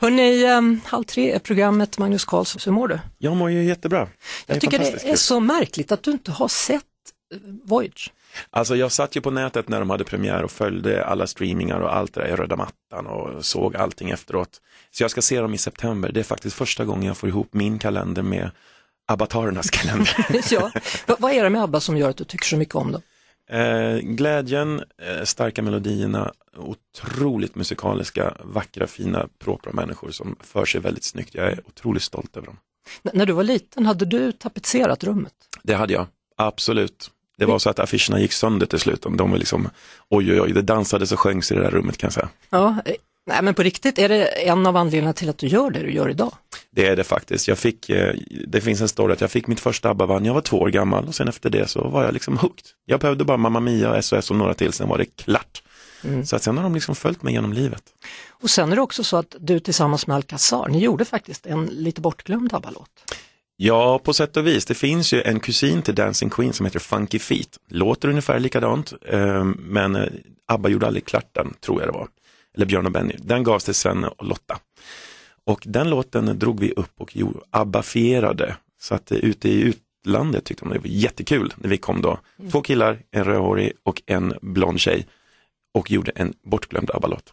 Hörrni, ehm, Halv tre är programmet Magnus Karlsson, hur mår du? Jag mår ju jättebra. Det Jag är tycker det fantastiskt är kul. så märkligt att du inte har sett eh, Voyage. Alltså jag satt ju på nätet när de hade premiär och följde alla streamingar och allt det där, röda mattan och såg allting efteråt. Så jag ska se dem i september, det är faktiskt första gången jag får ihop min kalender med avatarernas kalender. ja. Va- vad är det med ABBA som gör att du tycker så mycket om dem? eh, glädjen, eh, starka melodierna, otroligt musikaliska, vackra, fina, propra människor som för sig väldigt snyggt. Jag är otroligt stolt över dem. N- när du var liten, hade du tapetserat rummet? Det hade jag, absolut. Det var så att affischerna gick sönder till slut. De var liksom, oj oj oj, det dansades och sjöngs i det där rummet kan jag säga. Ja, eh, nej men på riktigt, är det en av anledningarna till att du gör det du gör idag? Det är det faktiskt. Jag fick, eh, det finns en story att jag fick mitt första ABBA-band, jag var två år gammal och sen efter det så var jag liksom hooked. Jag behövde bara Mamma Mia, SOS och några till, sen var det klart. Så att sen har de liksom följt mig genom livet. Och sen är det också så att du tillsammans med Alcazar, ni gjorde faktiskt en lite bortglömd ABBA-låt. Ja, på sätt och vis. Det finns ju en kusin till Dancing Queen som heter Funky Feet. Låter ungefär likadant, eh, men eh, ABBA gjorde aldrig klart den, tror jag det var. Eller Björn och Benny. Den gavs till Svenne och Lotta. Och den låten drog vi upp och gjorde- abbafierade. Så att eh, ute i utlandet tyckte de det var jättekul när vi kom då. Två killar, en rödhårig och en blond tjej och gjorde en bortglömd ABBA-låt.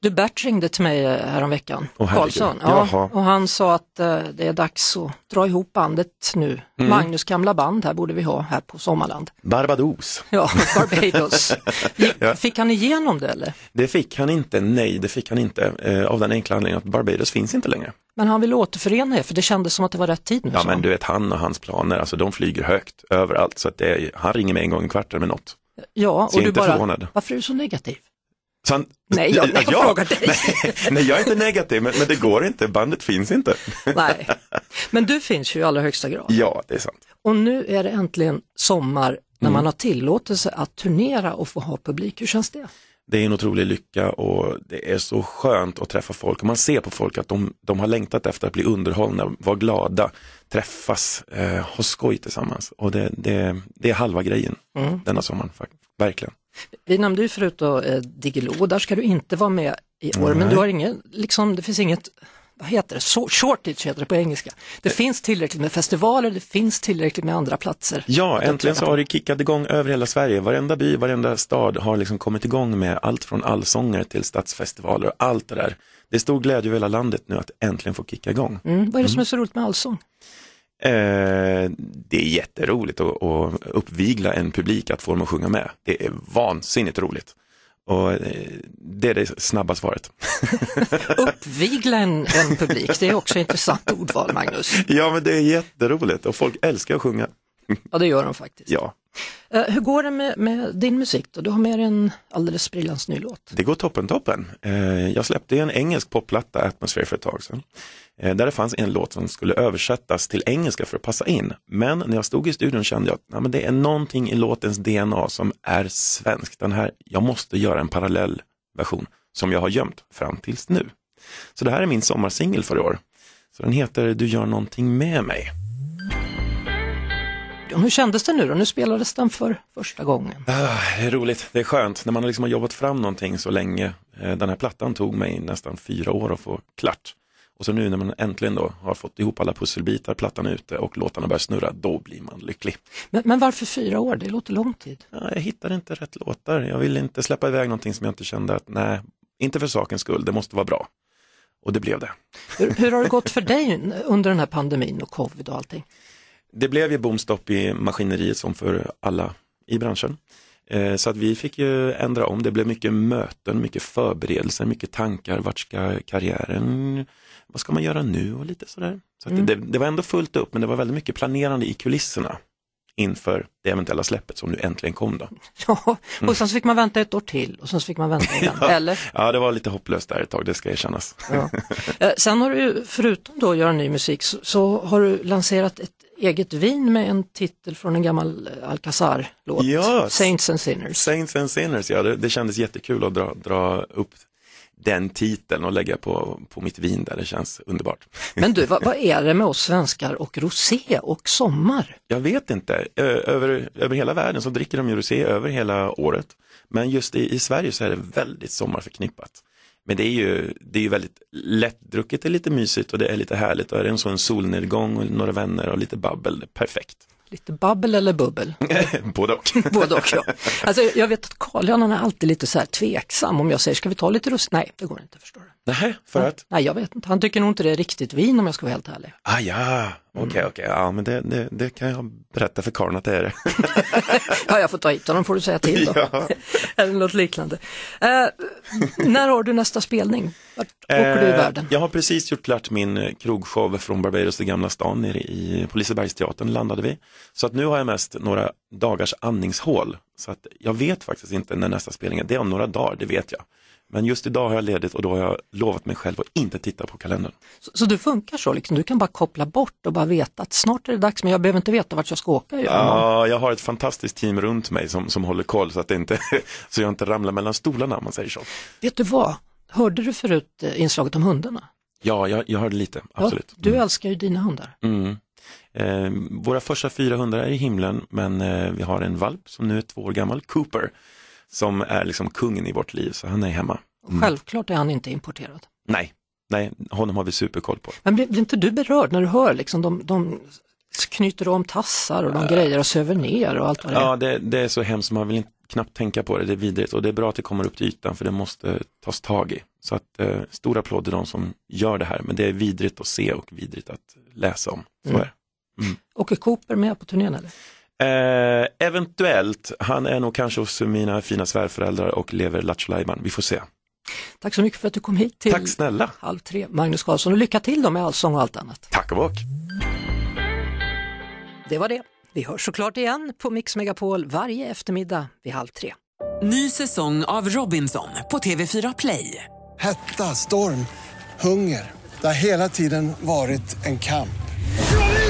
Du Bert ringde till mig eh, häromveckan, Åh, herregud. Karlsson, Jaha. ja, och han sa att eh, det är dags att dra ihop bandet nu. Mm. Magnus gamla band här borde vi ha här på Sommarland. Barbados. Ja, Barbados. Gick- Fick han igenom det eller? Det fick han inte, nej det fick han inte, eh, av den enkla anledningen att Barbados finns inte längre. Men han ville återförena er för det kändes som att det var rätt tid nu. Ja sa men han. du vet han och hans planer, alltså de flyger högt överallt så att det är, han ringer mig en gång i kvarten med något. ja, så och jag är du inte bara, förvånad. varför är du så negativ? Så han, Nej, jag- jag frågar dig. Nej, nej, jag är inte negativ men, men det går inte, bandet finns inte. Nej, men du finns ju i allra högsta grad. Ja, det är sant. Och nu är det äntligen sommar när Mm. man har tillåtelse att turnera och få ha publik. Hur känns det? Det är en otrolig lycka och det är så skönt att träffa folk och man ser på folk att de, de har längtat efter att bli underhållna, vara glada, träffas, eh, ha skoj tillsammans och det, det, det är halva grejen Mm. denna sommaren, fak- verkligen. Vi nämnde ju förut då, eh, Diggiloo, och där ska du inte vara med i år, men du har ingen, liksom, det finns inget, vad heter det, So- shortage heter det på engelska. Det Eh. finns tillräckligt med festivaler, det finns tillräckligt med andra platser. Ja, att upptäcka äntligen så på. har det kickat igång över hela Sverige. Varenda by, varenda stad har liksom kommit igång med allt från allsånger till stadsfestivaler och allt det där. Det är stor glädje över hela landet nu att äntligen få kicka igång. Mm, vad är det som är så roligt med allsång? Eh, det är jätteroligt att, att uppvigla en publik, att få dem att sjunga med. Det är vansinnigt roligt. Och eh, det är det snabba svaret. Uppvigla en, en publik, det är också ett intressant ordval Magnus. ja, men det är jätteroligt och folk älskar att sjunga. Ja, det gör de faktiskt. Ja, Eh, hur går det med, med din musik då? Du har med dig en alldeles sprillans ny låt. Det går toppen toppen. Eh, Jag släppte en engelsk popplatta, Atmosphere, för ett tag sedan. Eh, Där det fanns en låt som skulle översättas till engelska för att passa in. Men när jag stod i studion kände jag att nej, men det är någonting i låtens DNA som är svensk. Den här, jag måste göra en parallell version som jag har gömt fram tills nu. Så det här är min sommarsingel för i år. Så den heter Du gör någonting med mig. Och hur kändes det nu då? Nu spelades den för första gången. Ah, det är roligt, det är skönt. När man liksom har jobbat fram någonting så länge. Eh, Den här plattan tog mig nästan fyra år att få klart. Och så nu när man äntligen då har fått ihop alla pusselbitar, plattan är ute och låtarna börjar snurra, då blir man lycklig. Men, men varför fyra år? Det låter lång tid. Ah, Jag hittade inte rätt låtar, jag ville inte släppa iväg någonting som jag inte kände att nej, inte för sakens skull, det måste vara bra. Och det blev det. Hur, hur har det gått för dig under den här pandemin och covid och allting? det blev ju boomstopp i maskineriet som för alla i branschen. Eh, Så att vi fick ju ändra om, det blev mycket möten, mycket förberedelser, mycket tankar, vart ska karriären, vad ska man göra nu och lite sådär. Så att det, det var ändå fullt upp men det var väldigt mycket planerande i kulisserna inför det eventuella släppet som nu äntligen kom då. Ja, och sen så fick man vänta ett år till och sen så fick man vänta igen, eller? Ja, det var lite hopplöst där ett tag, det ska erkännas. Ja. Eh, Sen har du, ju, förutom då att göra ny musik, så, så har du lanserat ett eget vin med en titel från en gammal eh, Alcazar-låt, Ja. Saints and Sinners. Saints and Sinners, ja, det, det kändes jättekul att dra, dra upp den titeln och lägga på, på mitt vin där, det känns underbart. Men du, vad, vad är det med oss svenskar och rosé och sommar? Jag vet inte, Ö- över, över hela världen så dricker de ju rosé över hela året. Men just i, i Sverige så är det väldigt sommarförknippat. Men det är ju, det är ju väldigt lättdrucket, det är lite mysigt och det är lite härligt och är det en sån solnedgång och några vänner och lite babbel, det är perfekt. Lite babbel eller bubbel? Både och. Både och ja. Alltså, jag vet att Carl han är alltid lite så här tveksam om jag säger, ska vi ta lite rosé? Nej, det går inte, förstår du. Nej, för att? Nej, jag vet inte. Han tycker nog inte det är riktigt vin om jag ska vara helt ärlig. Ah ja, okej okej, ja men det, det, det kan jag berätta för Karin att det är det. Ja, jag får ta hit honom får du säga till då. Ja. Eller något liknande. Eh, när har du nästa spelning? Vart åker du i Eh, världen? Jag har precis gjort klart min eh, krogshow från Barbados till Gamla stan nere i på Lisebergsteatern landade vi. Så att nu har jag mest några dagars andningshål. Så att jag vet faktiskt inte när nästa spelning är, det är om några dagar, det vet jag. Men just idag har jag ledigt och då har jag lovat mig själv att inte titta på kalendern. Så, så du funkar så, liksom. du kan bara koppla bort och bara veta att snart är det dags men jag behöver inte veta vart jag ska åka. i Ja, morgon. jag har ett fantastiskt team runt mig som, som håller koll så att, det inte, så jag inte ramlar mellan stolarna om man säger så. Vet du vad? Hörde du förut eh, inslaget om hundarna? Ja, jag, jag hörde lite, absolut. Ja, du älskar ju dina hundar. Mm. Eh, våra första 400 är i himlen men eh, vi har en valp som nu är två år gammal, Cooper, som är liksom kungen i vårt liv så han är hemma. Mm. Självklart är han inte importerad. Nej, nej, honom har vi superkoll på. Men blir, blir inte du berörd när du hör liksom de, de knyter om tassar och de grejer och söver ner och allt vad det är? Ja, det, det är så hemskt, man vill inte, knappt tänka på det, det är vidrigt och det är bra att det kommer upp till ytan för det måste tas tag i. Så att eh, stor applåd till de som gör det här, men det är vidrigt att se och vidrigt att läsa om. Så Mm. är det. Åker Cooper med på turnén eller? Eh, eventuellt, han är nog kanske hos mina fina svärföräldrar och lever lattjo lajban. vi får se. Tack så mycket för att du kom hit till Tack snälla. Halv tre, Magnus Karlsson och lycka till då med allsång och allt annat. Tack och bock. Det var det. Vi hörs såklart igen på Mix Megapol varje eftermiddag vid halv tre. Ny säsong av Robinson på TV4 Play. Hetta, storm, hunger. Det har hela tiden varit en kamp.